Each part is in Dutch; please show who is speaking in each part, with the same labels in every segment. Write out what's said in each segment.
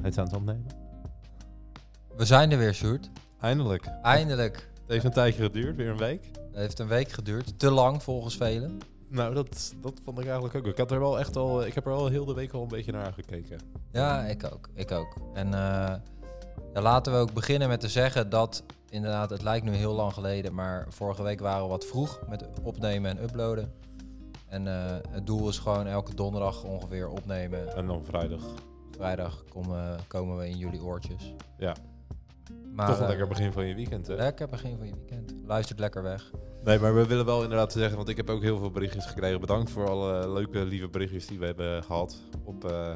Speaker 1: Hij is aan het opnemen.
Speaker 2: We zijn er weer, Sjoerd.
Speaker 1: Eindelijk.
Speaker 2: Eindelijk.
Speaker 1: Het heeft een tijdje geduurd, weer een week.
Speaker 2: Het heeft een week geduurd. Te lang volgens velen.
Speaker 1: Nou, dat, dat vond ik eigenlijk ook. Ik had er wel echt al, ik heb er al heel de week al een beetje naar gekeken.
Speaker 2: Ja, ik ook. Ik ook. En eh, ja, laten we ook beginnen met te zeggen dat inderdaad, het lijkt nu heel lang geleden, maar vorige week waren we wat vroeg met opnemen en uploaden. En eh, het doel is gewoon elke donderdag ongeveer opnemen.
Speaker 1: En dan vrijdag.
Speaker 2: Vrijdag komen, komen we in jullie oortjes.
Speaker 1: Ja.
Speaker 2: Maar,
Speaker 1: Toch een
Speaker 2: eh,
Speaker 1: lekker begin van je weekend, hè?
Speaker 2: Lekker begin van je weekend. Luistert lekker weg.
Speaker 1: Nee, maar we willen wel inderdaad zeggen, want ik heb ook heel veel berichtjes gekregen. Bedankt voor alle leuke, lieve berichtjes die we hebben gehad op, eh,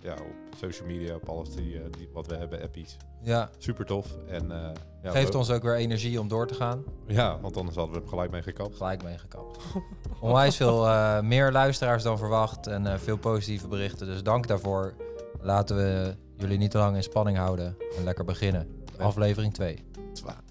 Speaker 1: ja, op social media, op alles die, eh, die, wat we hebben, appies.
Speaker 2: Ja,
Speaker 1: Super tof. En, eh, ja,
Speaker 2: geeft
Speaker 1: we-
Speaker 2: ons ook weer energie om door te gaan.
Speaker 1: Ja, want anders hadden we er gelijk mee gekapt.
Speaker 2: gelijk meegekapt. Onwijs veel eh, meer luisteraars dan verwacht en eh, veel positieve berichten. Dus dank daarvoor. Laten we jullie niet te lang in spanning houden en lekker beginnen. Aflevering 2.
Speaker 1: Zwaar.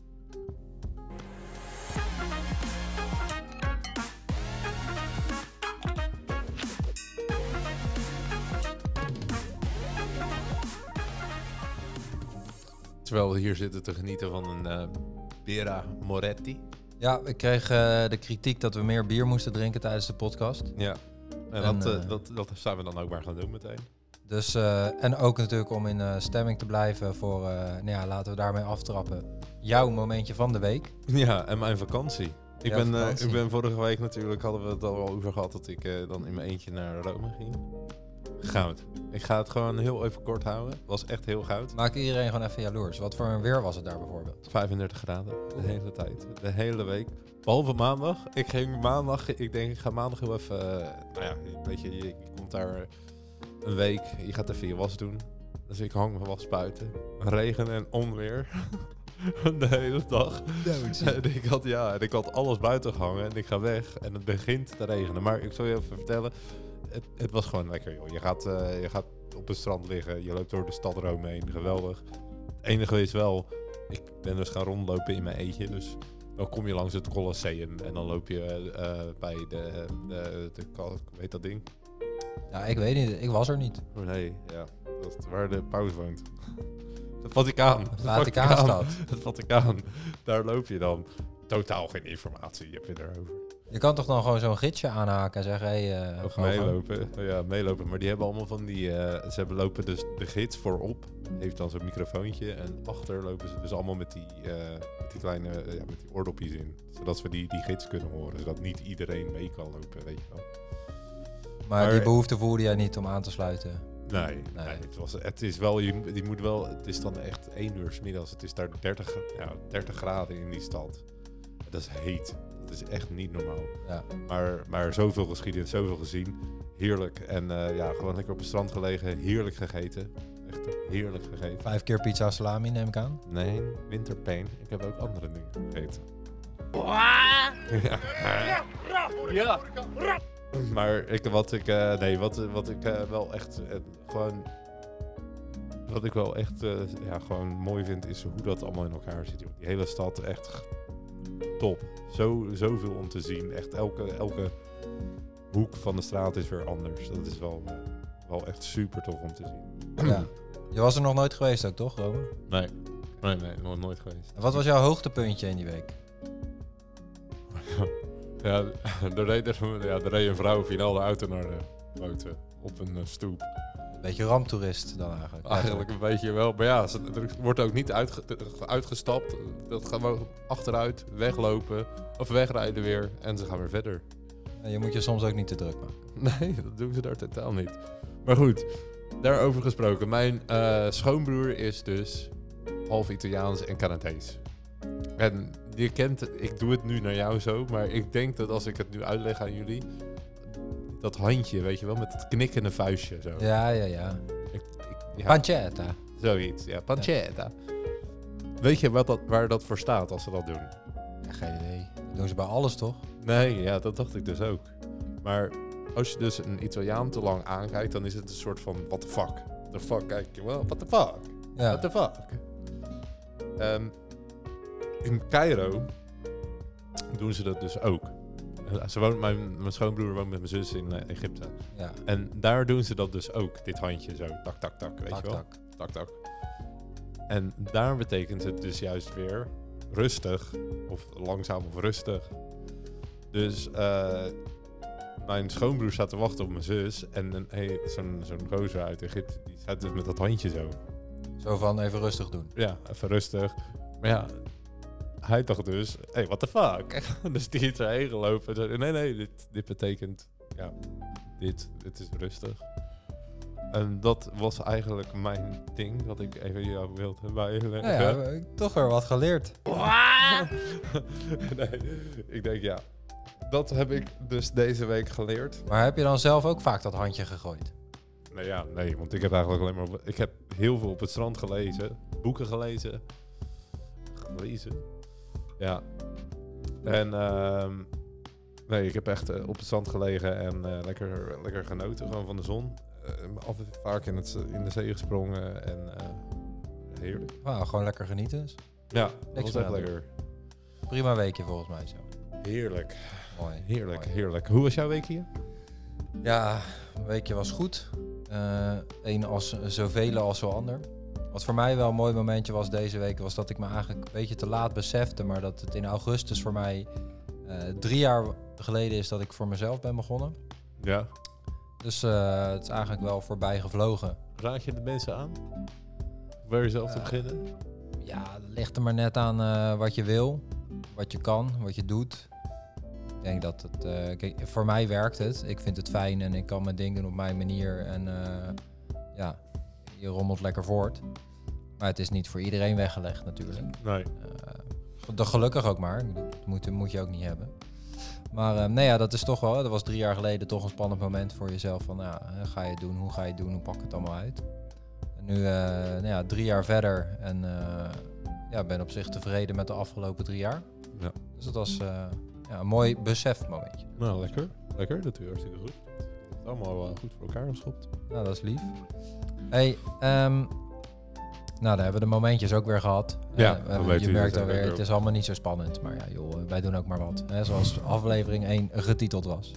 Speaker 1: Terwijl we hier zitten te genieten van een eh Bera Moretti.
Speaker 2: Ja, ik kreeg eh, de kritiek dat we meer bier moesten drinken tijdens de podcast.
Speaker 1: Ja. En,
Speaker 2: En,
Speaker 1: dat, eh,
Speaker 2: eh,
Speaker 1: dat, dat zijn we dan ook maar gaan doen meteen.
Speaker 2: Dus, eh, en ook natuurlijk om in eh, stemming te blijven voor, eh, nou ja, laten we daarmee aftrappen. Jouw momentje van de week.
Speaker 1: Ja, en mijn vakantie. Ik,
Speaker 2: Ja,
Speaker 1: ben, eh,
Speaker 2: vakantie.
Speaker 1: ik ben vorige week natuurlijk, hadden we het al wel over gehad, dat ik eh, dan in mijn eentje naar Rome ging. Goud. Ik ga het gewoon heel even kort houden. Was echt heel goud.
Speaker 2: Maak iedereen gewoon even jaloers. Wat voor een weer was het daar bijvoorbeeld?
Speaker 1: 35 graden de hele tijd, de hele week. Behalve maandag. Ik ging maandag, ik denk ik ga maandag heel even, eh, nou ja, weet je, je, je komt daar een week, je gaat even je was doen. Dus ik hang mijn was buiten. Regen en onweer. de hele dag. En ik had, ja, en ik had alles buiten gehangen en ik ga weg en het begint te regenen. Maar ik zal je even vertellen, het, het was gewoon lekker joh. Je gaat, eh, je gaat op het strand liggen, je loopt door de stad Rome heen, geweldig. Het enige is wel, ik ben dus gaan rondlopen in mijn eentje, dus dan kom je langs het Colosseum en dan loop je eh, bij de, de, de, kal- weet dat ding?
Speaker 2: Ja, ik weet niet. Ik was er niet.
Speaker 1: Oh, nee, ja, dat is waar de paus woont. De Vaticaan. De
Speaker 2: Vaticaanstad.
Speaker 1: Het Vaticaan. Daar loop je dan. Totaal geen informatie heb je erover.
Speaker 2: Je kan toch dan gewoon zo'n gidsje aanhaken en zeggen... Hey, eh,
Speaker 1: Of
Speaker 2: gewoon-
Speaker 1: meelopen. Ja, meelopen. Maar die hebben allemaal van die... eh, ze hebben lopen dus de gids voorop.
Speaker 2: Mhm.
Speaker 1: Heeft dan zo'n microfoontje. En achter lopen ze dus allemaal met die, eh, met die kleine... eh, ja, met die oordopjes in. Zodat we die, die gids kunnen horen. Zodat niet iedereen mee kan lopen, weet je wel.
Speaker 2: Maar,
Speaker 1: Maar-
Speaker 2: die behoefte voelde jij niet om aan te sluiten.
Speaker 1: Nee, nee. het, was, het is wel... Je, moet- je moet wel... Het is dan echt één uur 's middags. Het is daar 30, gra- ja, 30 graden in die stad. Dat is heet. Dat is echt niet normaal.
Speaker 2: Ja.
Speaker 1: Maar, maar zoveel geschiedenis, zoveel gezien. Heerlijk. En eh, ja, gewoon lekker op het strand gelegen. Heerlijk gegeten. Echt heerlijk gegeten.
Speaker 2: Vijf keer pizza salami neem ik aan.
Speaker 1: Nee, winterpijn. Ik heb ook andere dingen gegeten. Ja. ja. Maar ik, wat ik, eh, nee, wat, wat ik eh, wel echt eh, gewoon. Wat ik wel echt eh, ja, gewoon mooi vind, is hoe dat allemaal in elkaar zit. joh. Die hele stad echt g- top. Zo, zoveel om te zien. Echt elke, elke hoek van de straat is weer anders. Dat is wel, eh, wel echt super tof om te zien.
Speaker 2: ja. Je was er nog nooit geweest ook, toch, Rome?
Speaker 1: Nee, nee, nee, nog nooit geweest.
Speaker 2: En Wat was jouw hoogtepuntje in die week?
Speaker 1: Ja, er reed, er, ja, er reed een vrouw finaal de auto naar de boten op een eh, stoep.
Speaker 2: Een beetje ramptoerist dan eigenlijk.
Speaker 1: Eigenlijk een beetje wel. Maar ja, ze- er wordt ook niet uitge- uitgestapt. Dat gaan we achteruit, weglopen of wegrijden weer. En ze gaan weer verder.
Speaker 2: En Je moet je soms ook niet te druk
Speaker 1: Oh.
Speaker 2: maken.
Speaker 1: Nee, dat doen ze daar totaal niet. Maar goed, daarover gesproken. Mijn eh, schoonbroer is dus half Italiaans en Canadees. En je kent, ik doe het nu naar jou zo, maar ik denk dat als ik het nu uitleg aan jullie, dat handje, weet je wel, met het knikkende vuistje zo.
Speaker 2: Ja, ja, ja.
Speaker 1: Ik, ik, ja.
Speaker 2: Pancetta.
Speaker 1: Zoiets, ja. Pancetta. Weet je wat dat, waar dat voor staat als ze dat doen?
Speaker 2: Ja, geen idee. Dat doen ze bij alles, toch?
Speaker 1: Nee, ja, dat dacht ik dus ook. Maar als je dus een Italiaan te lang aankijkt, dan is het een soort van what the fuck. The fuck, kijk je wel, what the fuck,
Speaker 2: Ja.
Speaker 1: what the fuck. Ehm, in Cairo doen ze dat dus ook. Eh, Ze woont, mijn, mijn schoonbroer woont met mijn zus in eh, Egypte.
Speaker 2: ja.
Speaker 1: En daar doen ze dat dus ook, dit handje zo, tak, tak, tak, weet
Speaker 2: Tak,
Speaker 1: je wel.
Speaker 2: tak.
Speaker 1: tak, tak. En daar betekent het dus juist weer rustig, of langzaam of rustig. Dus eh, mijn schoonbroer zat te wachten op mijn zus en een- hey, zo'n zo'n gozer uit Egypte, die zat dus met dat handje zo.
Speaker 2: Zo van even rustig doen.
Speaker 1: Ja, even rustig. Maar ja, hij dacht dus, hé, hey, what the fuck? dus die is erheen gelopen. en zei, nee, nee, dit, dit betekent, ja, dit, dit is rustig. En dat was eigenlijk mijn ding, wat ik even jou wilde bijleggen.
Speaker 2: Nou ja, we hebben toch weer wat geleerd.
Speaker 1: nee, ik denk ja. Dat heb ik dus deze week geleerd.
Speaker 2: Maar heb je dan zelf ook vaak dat handje gegooid?
Speaker 1: Nee, ja, nee, want ik heb eigenlijk alleen maar... op- Ik heb heel veel op het strand gelezen. Boeken gelezen. Gelezen. Ja. En ehm, nee, ik heb echt eh, op het strand gelegen en eh, lekker, lekker genoten gewoon van de zon. Eh, altijd vaak in, het, z- in de zee gesprongen en eh, heerlijk.
Speaker 2: Nou, gewoon lekker genieten. Is
Speaker 1: Ja, dat
Speaker 2: Niks
Speaker 1: was
Speaker 2: meer
Speaker 1: echt
Speaker 2: aan doen.
Speaker 1: lekker.
Speaker 2: een Prima weekje volgens mij zo.
Speaker 1: Heerlijk,
Speaker 2: Mooi.
Speaker 1: heerlijk,
Speaker 2: Mooi.
Speaker 1: heerlijk. Hoe was jouw week hier?
Speaker 2: Ja, een weekje was goed. Eén als zoveel als zo ander. Wat voor mij wel een mooi momentje was deze week, was dat ik me eigenlijk een beetje te laat besefte, maar dat het in augustus voor mij eh, drie jaar geleden is dat ik voor mezelf ben begonnen.
Speaker 1: Ja.
Speaker 2: Dus eh, het is eigenlijk wel voorbij gevlogen.
Speaker 1: Raad je de mensen aan? Waar jezelf te
Speaker 2: Eh,
Speaker 1: beginnen?
Speaker 2: Ja, het ligt er maar net aan eh, wat je wil, wat je kan, wat je doet. Ik denk dat het, eh, kijk, voor mij werkt het. Ik vind het fijn en ik kan mijn ding doen op mijn manier. En eh, ja, je rommelt lekker voort. Maar het is niet voor iedereen weggelegd natuurlijk.
Speaker 1: Nee.
Speaker 2: Eh, dat gelukkig ook maar. Ik bedoel, Dat moet, moet je ook niet hebben. Maar eh nee, ja, dat is toch wel. Dat was drie jaar geleden toch een spannend moment voor jezelf. Van ja, eh, ga je het doen? Hoe ga je het doen? Hoe pak ik het allemaal uit? En nu, eh, nou ja, drie jaar verder. En eh, ja, ben op zich tevreden met de afgelopen drie jaar.
Speaker 1: Ja.
Speaker 2: Dus dat was eh, ja, een mooi besefmomentje.
Speaker 1: Nou, lekker. Lekker, dat doe je hartstikke goed. Het is allemaal wel goed voor elkaar geschopt.
Speaker 2: Nou, dat is lief. Hey, ehm, nou, daar hebben we de momentjes ook weer gehad.
Speaker 1: Ja,
Speaker 2: Eh, we-
Speaker 1: dat weet
Speaker 2: je
Speaker 1: u,
Speaker 2: merkt
Speaker 1: dat
Speaker 2: alweer,
Speaker 1: weet u
Speaker 2: het is allemaal niet zo spannend. Maar ja, joh, eh, wij doen ook maar wat. Hè, zoals aflevering 1 getiteld was.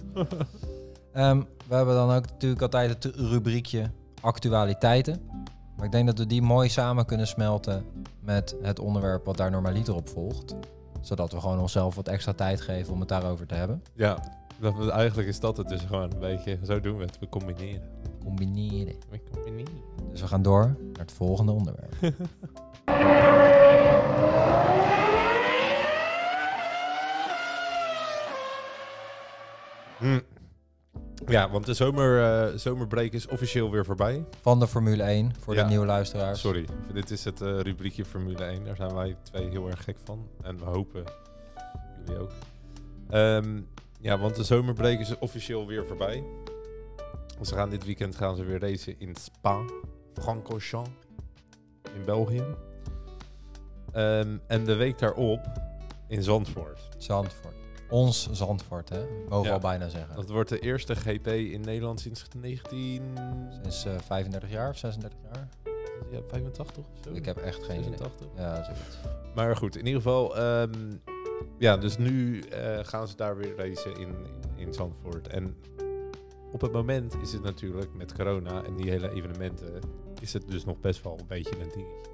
Speaker 2: Ehm, we hebben dan ook natuurlijk altijd het rubriekje actualiteiten. Maar ik denk dat we die mooi samen kunnen smelten met het onderwerp wat daar normaliter op volgt. Zodat we gewoon onszelf wat extra tijd geven om het daarover te hebben.
Speaker 1: Ja, dat, eigenlijk is dat het dus gewoon een beetje. Zo doen we het, we combineren.
Speaker 2: Combineren.
Speaker 1: We combineren.
Speaker 2: Dus we gaan door naar het volgende onderwerp.
Speaker 1: Hm. Ja, want de zomer, eh, zomerbreak is officieel weer voorbij.
Speaker 2: van de Formule 1 voor
Speaker 1: Ja.
Speaker 2: de nieuwe luisteraars.
Speaker 1: Sorry, dit is het eh, rubriekje Formule 1. Daar zijn wij twee heel erg gek van. En we hopen jullie ook. Ehm, ja, want de zomerbreak is officieel weer voorbij. Ze gaan dit weekend gaan ze weer racen in Spa, Francorchamps, in België. Ehm, en de week daarop in Zandvoort.
Speaker 2: Zandvoort. Ons Zandvoort, hè? Mogen we
Speaker 1: Ja.
Speaker 2: al bijna zeggen.
Speaker 1: Dat wordt de eerste GP in Nederland sinds 1985
Speaker 2: Sinds eh, 35 jaar of 36 jaar.
Speaker 1: of zo.
Speaker 2: Ik heb echt geen idee.
Speaker 1: 86.
Speaker 2: Ja, zoiets.
Speaker 1: Maar goed, in ieder geval. ehm, ja, dus nu eh, gaan ze daar weer racen in, in Zandvoort. En op het moment is het natuurlijk met corona en die hele evenementen. is het dus nog best wel een beetje een dingetje.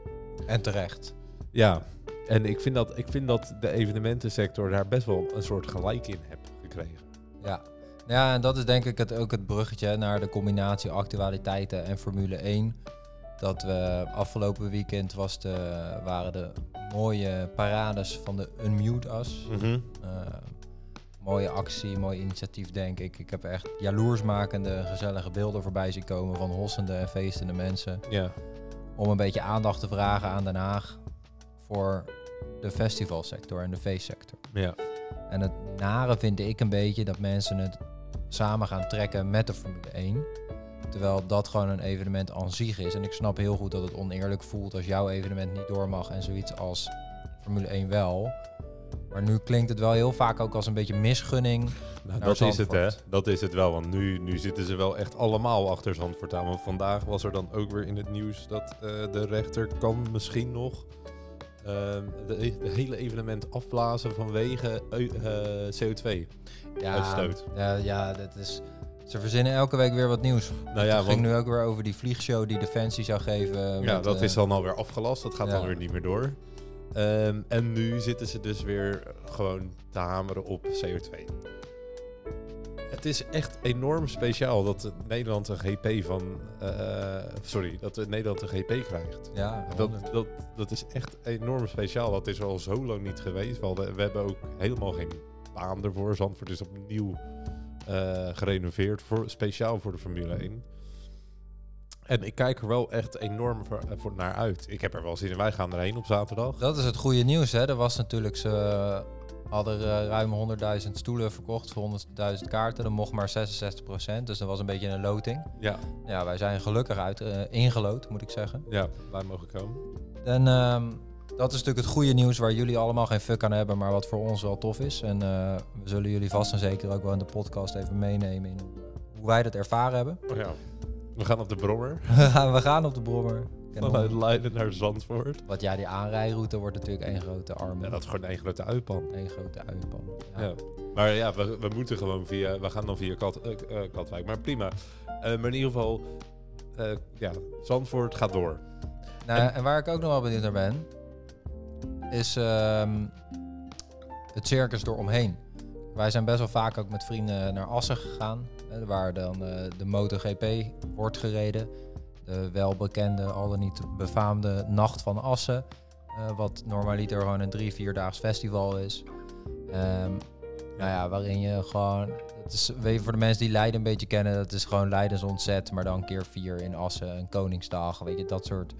Speaker 2: En terecht.
Speaker 1: Ja, en ik vind dat, ik vind dat de evenementensector daar best wel een soort gelijk in heb gekregen.
Speaker 2: Ja. Nou ja, en dat is denk ik het, ook het bruggetje naar de combinatie actualiteiten en Formule 1. Dat we afgelopen weekend was de, waren de mooie parades van de Unmute-as. Eh, mooie actie, mooi initiatief, denk ik. Ik heb echt jaloersmakende, gezellige beelden voorbij zien komen van hossende en feestende mensen.
Speaker 1: Ja,
Speaker 2: Om een beetje aandacht te vragen aan Den Haag voor de festivalsector en de feestsector.
Speaker 1: ja,
Speaker 2: En het nare vind ik een beetje dat mensen het samen gaan trekken met de Formule 1. Terwijl dat gewoon een evenement aan zich is. En ik snap heel goed dat het oneerlijk voelt als jouw evenement niet door mag en zoiets als Formule 1 wel. Maar nu klinkt het wel heel vaak ook als een beetje misgunning.
Speaker 1: nou,
Speaker 2: Naar
Speaker 1: dat is het hè.
Speaker 2: Zandvoort.
Speaker 1: Dat is het wel, want nu, nu zitten ze wel echt allemaal achter Zandvoort aan. Want vandaag was er dan ook weer in het nieuws dat eh, de rechter kan misschien nog ehm de, de hele evenement afblazen vanwege eu- eh, CO2.
Speaker 2: Ja,
Speaker 1: Uitstoot.
Speaker 2: Ja, ja, dat is. Ze verzinnen elke week weer wat nieuws.
Speaker 1: Nou ja,
Speaker 2: het ging
Speaker 1: want,
Speaker 2: nu ook weer over die vliegshow die Defensie zou geven.
Speaker 1: ja
Speaker 2: met,
Speaker 1: dat
Speaker 2: eh,
Speaker 1: is dan alweer afgelast. Dat gaat
Speaker 2: ja.
Speaker 1: dan weer niet meer door. Ehm, en nu zitten ze dus weer gewoon te hameren op CO2. Het is echt enorm speciaal dat Nederland een GP van. eh, sorry, dat Nederland een GP krijgt.
Speaker 2: Ja,
Speaker 1: Dat, dat, dat is echt enorm speciaal. Dat is al zo lang niet geweest. We, hadden- we hebben ook helemaal geen baan ervoor. Zandvoort is opnieuw eh, gerenoveerd. Voor, speciaal voor de Formule 1. En ik kijk er wel echt enorm voor, eh, voor naar uit. Ik heb er wel zin in. Wij gaan erheen op zaterdag.
Speaker 2: Dat is het goede nieuws, hè? Er was natuurlijk, ze hadden eh, ruim 100.000 stoelen verkocht voor 100.000 kaarten. Dat mocht maar 66%, dus dat was een beetje een loting.
Speaker 1: Ja,
Speaker 2: Ja, wij zijn gelukkig uit, eh, ingelood, moet ik zeggen.
Speaker 1: ja wij mogen komen.
Speaker 2: En ehm, dat is natuurlijk het goede nieuws waar jullie allemaal geen fuck aan hebben, maar wat voor ons wel tof is. En eh, we zullen jullie vast en zeker ook wel in de podcast even meenemen in hoe wij dat ervaren hebben.
Speaker 1: Oh ja. We gaan op de Brommer.
Speaker 2: we gaan op de brommer.
Speaker 1: Vanuit Leiden naar Zandvoort.
Speaker 2: Want ja, die aanrijroute wordt natuurlijk één grote arm.
Speaker 1: Ja, dat is gewoon één grote uitpan.
Speaker 2: Eén grote uienpan. Ja.
Speaker 1: Ja. Maar ja, we, we moeten gewoon via. We gaan dan via Kat, eh, eh, Katwijk. Maar prima. Eh, maar in ieder geval. eh, ja, Zandvoort gaat door.
Speaker 2: Nou, en waar ik ook nog wel benieuwd naar ben, is ehm, het circus eromheen. Wij zijn best wel vaak ook met vrienden naar Assen gegaan, hè, waar dan eh, de MotoGP wordt gereden. De welbekende, al dan niet befaamde Nacht van Assen, eh, wat normaliter gewoon een drie, vierdaags festival is. Ehm, nou ja, waarin je gewoon... Het is, weet je, voor de mensen die Leiden een beetje kennen, dat is gewoon Leidens ontzet, maar dan keer vier in Assen, een Koningsdag, weet je, dat soort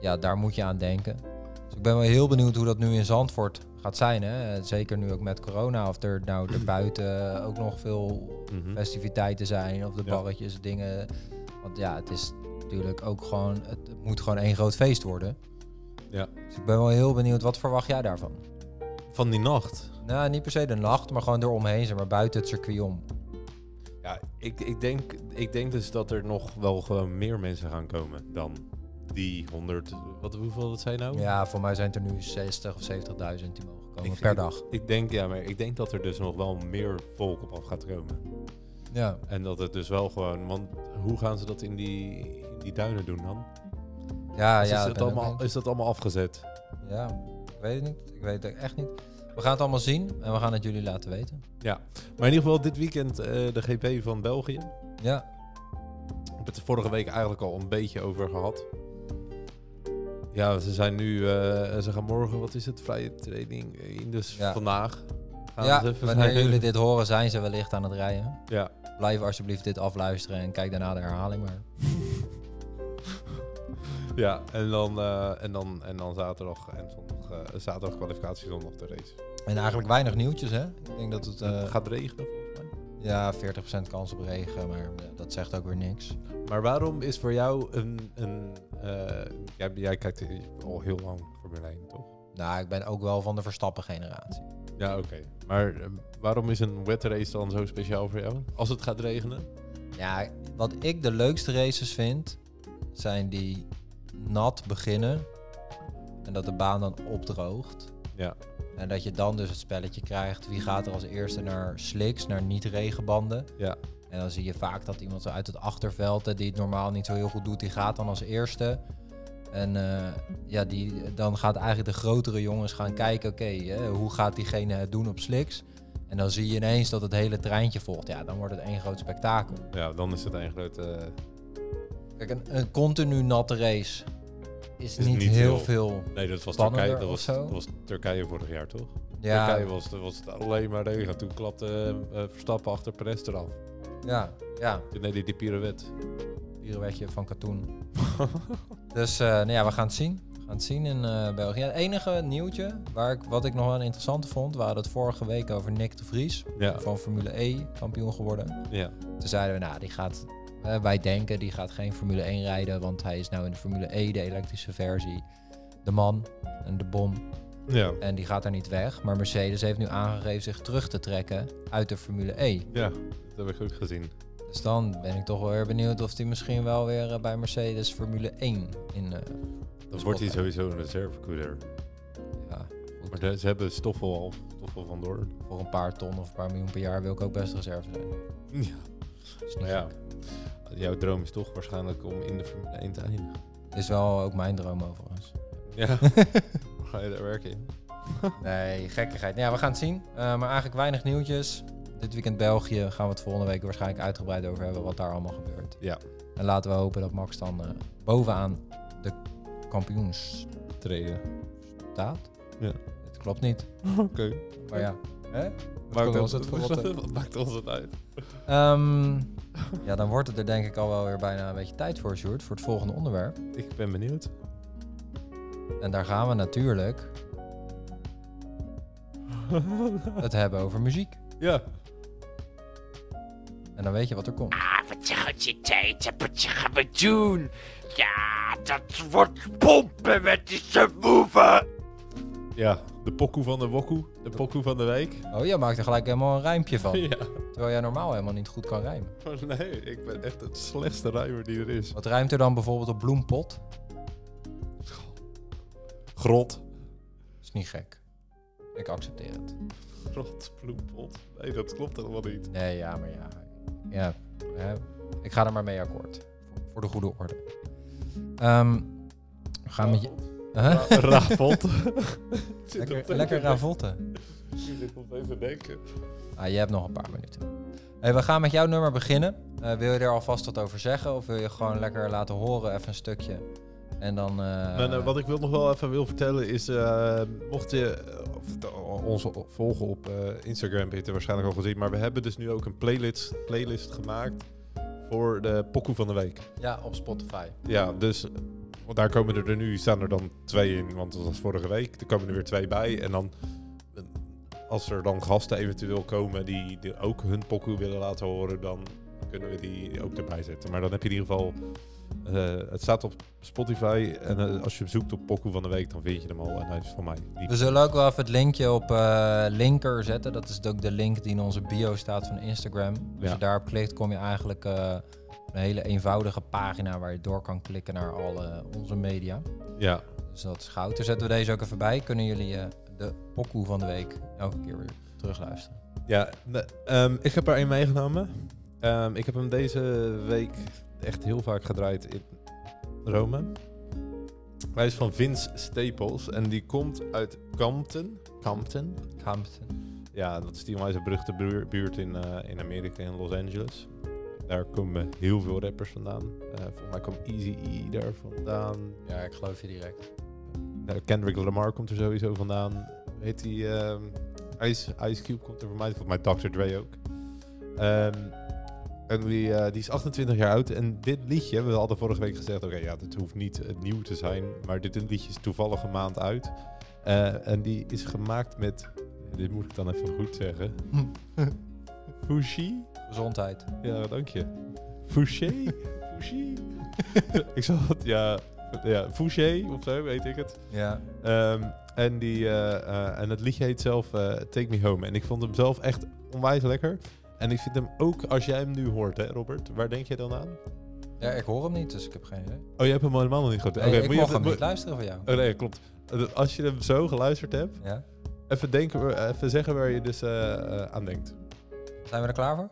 Speaker 2: ja, daar moet je aan denken. Dus ik ben wel heel benieuwd hoe dat nu in Zandvoort gaat zijn. Hè? Zeker nu ook met corona. Of er nou erbuiten ook nog veel festiviteiten zijn. Of de
Speaker 1: Mhm. Ja.
Speaker 2: barretjes, dingen. Want ja, het is natuurlijk ook gewoon... Het het moet gewoon één groot feest worden.
Speaker 1: Ja.
Speaker 2: Dus ik ben wel heel benieuwd. Wat verwacht jij daarvan?
Speaker 1: Van die nacht.
Speaker 2: Nou, niet per se de nacht, maar gewoon eromheen. Zeg maar buiten het circuit om.
Speaker 1: Ja, ik, ik, denk, ik denk dus dat er nog wel gewoon meer mensen gaan komen dan die 100. Wat, hoeveel dat zijn nou?
Speaker 2: Ja, voor mij zijn het er nu 60 of 70.000 die mogen komen
Speaker 1: Ik-
Speaker 2: per dag.
Speaker 1: Ik denk, ja, maar ik denk dat er dus nog wel meer volk op af gaat komen.
Speaker 2: Ja.
Speaker 1: En dat het dus wel gewoon. Want hoe gaan ze dat in die, in die duinen doen dan?
Speaker 2: Ja,
Speaker 1: Dus
Speaker 2: Ah, ja,
Speaker 1: is,
Speaker 2: ik
Speaker 1: dat
Speaker 2: ben ook
Speaker 1: allemaal, is dat allemaal afgezet?
Speaker 2: Ja, ik weet het niet. Ik weet het echt niet. We gaan het allemaal zien en we gaan het jullie laten weten.
Speaker 1: Maar in ieder geval dit weekend eh, de GP van België.
Speaker 2: Ja,
Speaker 1: Ik heb het er vorige week eigenlijk al een beetje over gehad. Ja, ze zijn nu, eh, ze gaan morgen, wat is het, vrije training in, dus
Speaker 2: Ja.
Speaker 1: vandaag. Gaan
Speaker 2: ja
Speaker 1: ze even
Speaker 2: wanneer
Speaker 1: zijn.
Speaker 2: jullie dit horen, zijn ze wellicht aan het rijden.
Speaker 1: Ja,
Speaker 2: Blijf alsjeblieft dit afluisteren en kijk daarna de herhaling maar.
Speaker 1: ja. En, dan, eh, en, dan, en dan zaterdag en zondag, eh, zaterdag kwalificatie, zondag de race.
Speaker 2: En eigenlijk weinig nieuwtjes, hè? Ik denk dat het... eh,
Speaker 1: het gaat regenen volgens mij.
Speaker 2: ja, 40% kans op regen, maar ja, dat zegt ook weer niks.
Speaker 1: Maar waarom is voor jou een, een eh, jij, jij kijkt al heel lang Formule 1, toch?
Speaker 2: Nou, ik ben ook wel van de Verstappen generatie.
Speaker 1: Ja, oké. Maar eh, waarom is een wet race dan zo speciaal voor jou? Als het gaat regenen?
Speaker 2: Ja, wat ik de leukste races vind, zijn die nat beginnen en dat de baan dan opdroogt.
Speaker 1: Ja.
Speaker 2: En dat je dan dus het spelletje krijgt. Wie gaat er als eerste naar slicks, naar niet-regenbanden?
Speaker 1: Ja.
Speaker 2: En dan zie je vaak dat iemand zo uit het achterveld, eh, die het normaal niet zo heel goed doet, die gaat dan als eerste. En eh, ja, die, dan gaat eigenlijk de grotere jongens gaan kijken, oké, eh, hoe gaat diegene het doen op slicks? En dan zie je ineens dat het hele treintje volgt. Ja, dan wordt het één groot spektakel.
Speaker 1: Ja, dan is het een grote... eh,
Speaker 2: Kijk, een, een continu natte race is,
Speaker 1: Is
Speaker 2: niet,
Speaker 1: niet
Speaker 2: heel
Speaker 1: heel-
Speaker 2: veel.
Speaker 1: Nee, dat was
Speaker 2: Spannender
Speaker 1: Turkije. Dat
Speaker 2: of
Speaker 1: was,
Speaker 2: zo?
Speaker 1: dat was Turkije vorig jaar, toch?
Speaker 2: Ja,
Speaker 1: Turkije was, was het alleen maar regen. Toen klapte eh, eh, Verstappen achter Perez eraf.
Speaker 2: ja, ja.
Speaker 1: Toen deed hij die pirouette.
Speaker 2: pirouetje van katoen. dus eh, nou ja, we gaan het zien. We gaan het zien in eh, België. Het enige nieuwtje waar ik, wat ik nog wel interessant vond, waren het vorige week over Nick de Vries.
Speaker 1: Ja,
Speaker 2: Van Formule E kampioen geworden.
Speaker 1: ja.
Speaker 2: Toen zeiden we, nou, die gaat, eh, wij denken, die gaat geen Formule 1 rijden. Want hij is nou in de Formule E, de elektrische versie. De man en de bom.
Speaker 1: Ja,
Speaker 2: En die gaat daar niet weg. Maar Mercedes heeft nu aangegeven zich terug te trekken uit de Formule E.
Speaker 1: ja. Dat heb ik ook gezien.
Speaker 2: Dus dan ben ik toch wel weer benieuwd of die misschien wel weer eh, bij Mercedes Formule 1 in. eh,
Speaker 1: Dan
Speaker 2: spot
Speaker 1: wordt hij
Speaker 2: gaat.
Speaker 1: sowieso een reservecoureur.
Speaker 2: Ja,
Speaker 1: Maar de- ze hebben Stoffel al. Stoffel van Doorn.
Speaker 2: voor een paar ton of een paar miljoen per jaar wil ik ook best reserve zijn.
Speaker 1: Ja.
Speaker 2: Is niet
Speaker 1: Maar ja,
Speaker 2: gek.
Speaker 1: jouw droom is toch waarschijnlijk om in de Formule 1 te eindigen.
Speaker 2: Is wel ook mijn droom overigens.
Speaker 1: Ja, Waar ga je daar werken in?
Speaker 2: Nee, gekkigheid. Ja, we gaan het zien. Eh, maar eigenlijk weinig nieuwtjes. Dit weekend België gaan we het volgende week waarschijnlijk uitgebreid over hebben wat daar allemaal gebeurt.
Speaker 1: Ja.
Speaker 2: En laten we hopen dat Max dan eh, bovenaan de kampioens
Speaker 1: Treden.
Speaker 2: staat.
Speaker 1: Ja.
Speaker 2: Het klopt niet.
Speaker 1: Oké.
Speaker 2: Maar ja. Hè?
Speaker 1: Maakt
Speaker 2: kunnen
Speaker 1: ons
Speaker 2: we
Speaker 1: het
Speaker 2: ons het verrotten?
Speaker 1: Wat maakt ons het uit?
Speaker 2: Ehm, ja, dan wordt het er denk ik al wel weer bijna een beetje tijd voor, Sjoerd, voor het volgende onderwerp.
Speaker 1: Ik ben benieuwd.
Speaker 2: En daar gaan we natuurlijk het hebben over muziek.
Speaker 1: ja.
Speaker 2: En dan weet je wat er komt.
Speaker 3: Ah, wat je gaat je tijd en wat je gaan we doen. Ja, dat wordt pompen met die subwoofer.
Speaker 1: Ja, de pokoe van de wokkoe. De pokoe van de week.
Speaker 2: Oh, jij maakt er gelijk helemaal een rijmpje van.
Speaker 1: Ja.
Speaker 2: Terwijl jij normaal helemaal niet goed kan rijmen.
Speaker 1: Nee, ik ben echt het slechtste rijmer die er is.
Speaker 2: Wat rijmt er dan bijvoorbeeld op bloempot?
Speaker 1: Grot.
Speaker 2: Is niet gek. Ik accepteer het.
Speaker 1: Grot, bloempot. Nee, dat klopt helemaal niet.
Speaker 2: Nee, ja, maar ja. Ja, hè. ik ga er maar mee akkoord. Voor de goede orde. Ehm, we gaan met je... Huh?
Speaker 1: Ra- Rafot.
Speaker 2: Lekker, lekker ravotten.
Speaker 1: Ik zit nog even te denken.
Speaker 2: Ah, je hebt nog een paar minuten. Hey, we gaan met jouw nummer beginnen. Eh, wil je er alvast wat over zeggen? Of wil je gewoon lekker laten horen, even een stukje? En dan... eh,
Speaker 1: Maar, eh, wat ik wil nog wel even wil vertellen is, eh, mocht je eh, of de- ons o- volgen op eh, Instagram, heb je het waarschijnlijk al gezien, maar we hebben dus nu ook een playlist, playlist gemaakt voor de pokoe van de week.
Speaker 2: Ja, op Spotify.
Speaker 1: Ja, dus want daar komen er, er nu, staan er dan twee in, want dat was vorige week. Er komen er weer twee bij en dan, eh, als er dan gasten eventueel komen die, die ook hun pokoe willen laten horen, dan kunnen we die ook erbij zetten. Maar dan heb je in ieder geval, eh, het staat op Spotify en eh, als je zoekt op pokoe van de week, dan vind je hem al en hij is van mij. Die-
Speaker 2: We zullen ook wel even het linkje op eh, linker zetten. Dat is ook de link die in onze bio staat van Instagram. Als
Speaker 1: Ja.
Speaker 2: je daarop klikt, kom je eigenlijk eh, een hele eenvoudige pagina waar je door kan klikken naar alle onze media.
Speaker 1: Ja,
Speaker 2: Dus dat is goud. Daar zetten we deze ook even bij. Kunnen jullie eh, de pokoe van de week elke keer weer terugluisteren.
Speaker 1: ja ne- ehm, ik heb er één meegenomen. Ehm, ik heb hem deze week echt heel vaak gedraaid in Rome. Hij is van Vince Staples en die komt uit Compton. Compton?
Speaker 2: Hampton.
Speaker 1: Ja, dat is die onwijs beruchte buur- buurt in, eh, in Amerika, in Los Angeles. Daar komen heel veel rappers vandaan. Eh volgens mij kwam Easy E daar vandaan.
Speaker 2: Ja, ik geloof je direct.
Speaker 1: Nou, Kendrick Lamar komt er sowieso vandaan. Hoe Heet die ehm, Ice, Ice Cube komt er voor mij. Volgens mij Dr. Dre ook. Ehm, en die, eh, die is 28 jaar oud. En dit liedje, we hadden vorige week gezegd... Oké, ja, dit hoeft niet eh, nieuw te zijn. Maar dit liedje is toevallig een maand uit. Eh, en die is gemaakt met... Dit moet ik dan even goed zeggen. Fushi?
Speaker 2: Gezondheid.
Speaker 1: Ja, dank je. Fouché? Fouché? ik zal het, ja... Ja, Fouché of zo, weet ik het.
Speaker 2: Ja.
Speaker 1: Ehm, en, die, eh, eh, en het liedje heet zelf eh, Take Me Home. En ik vond hem zelf echt onwijs lekker. En ik vind hem ook, als jij hem nu hoort, hè Robert, waar denk jij dan aan?
Speaker 2: ja, ik hoor hem niet, dus ik heb geen idee.
Speaker 1: Oh, je hebt hem helemaal nog niet gehoord.
Speaker 2: Nee,
Speaker 1: Oké,
Speaker 2: ik
Speaker 1: moet je
Speaker 2: mocht
Speaker 1: even-
Speaker 2: hem niet
Speaker 1: moet-
Speaker 2: luisteren van jou.
Speaker 1: Oh nee, klopt. Eh, Als je hem zo geluisterd hebt,
Speaker 2: Ja.
Speaker 1: even, denken, we- even zeggen waar je dus eh, eh, aan denkt.
Speaker 2: Zijn we er klaar voor?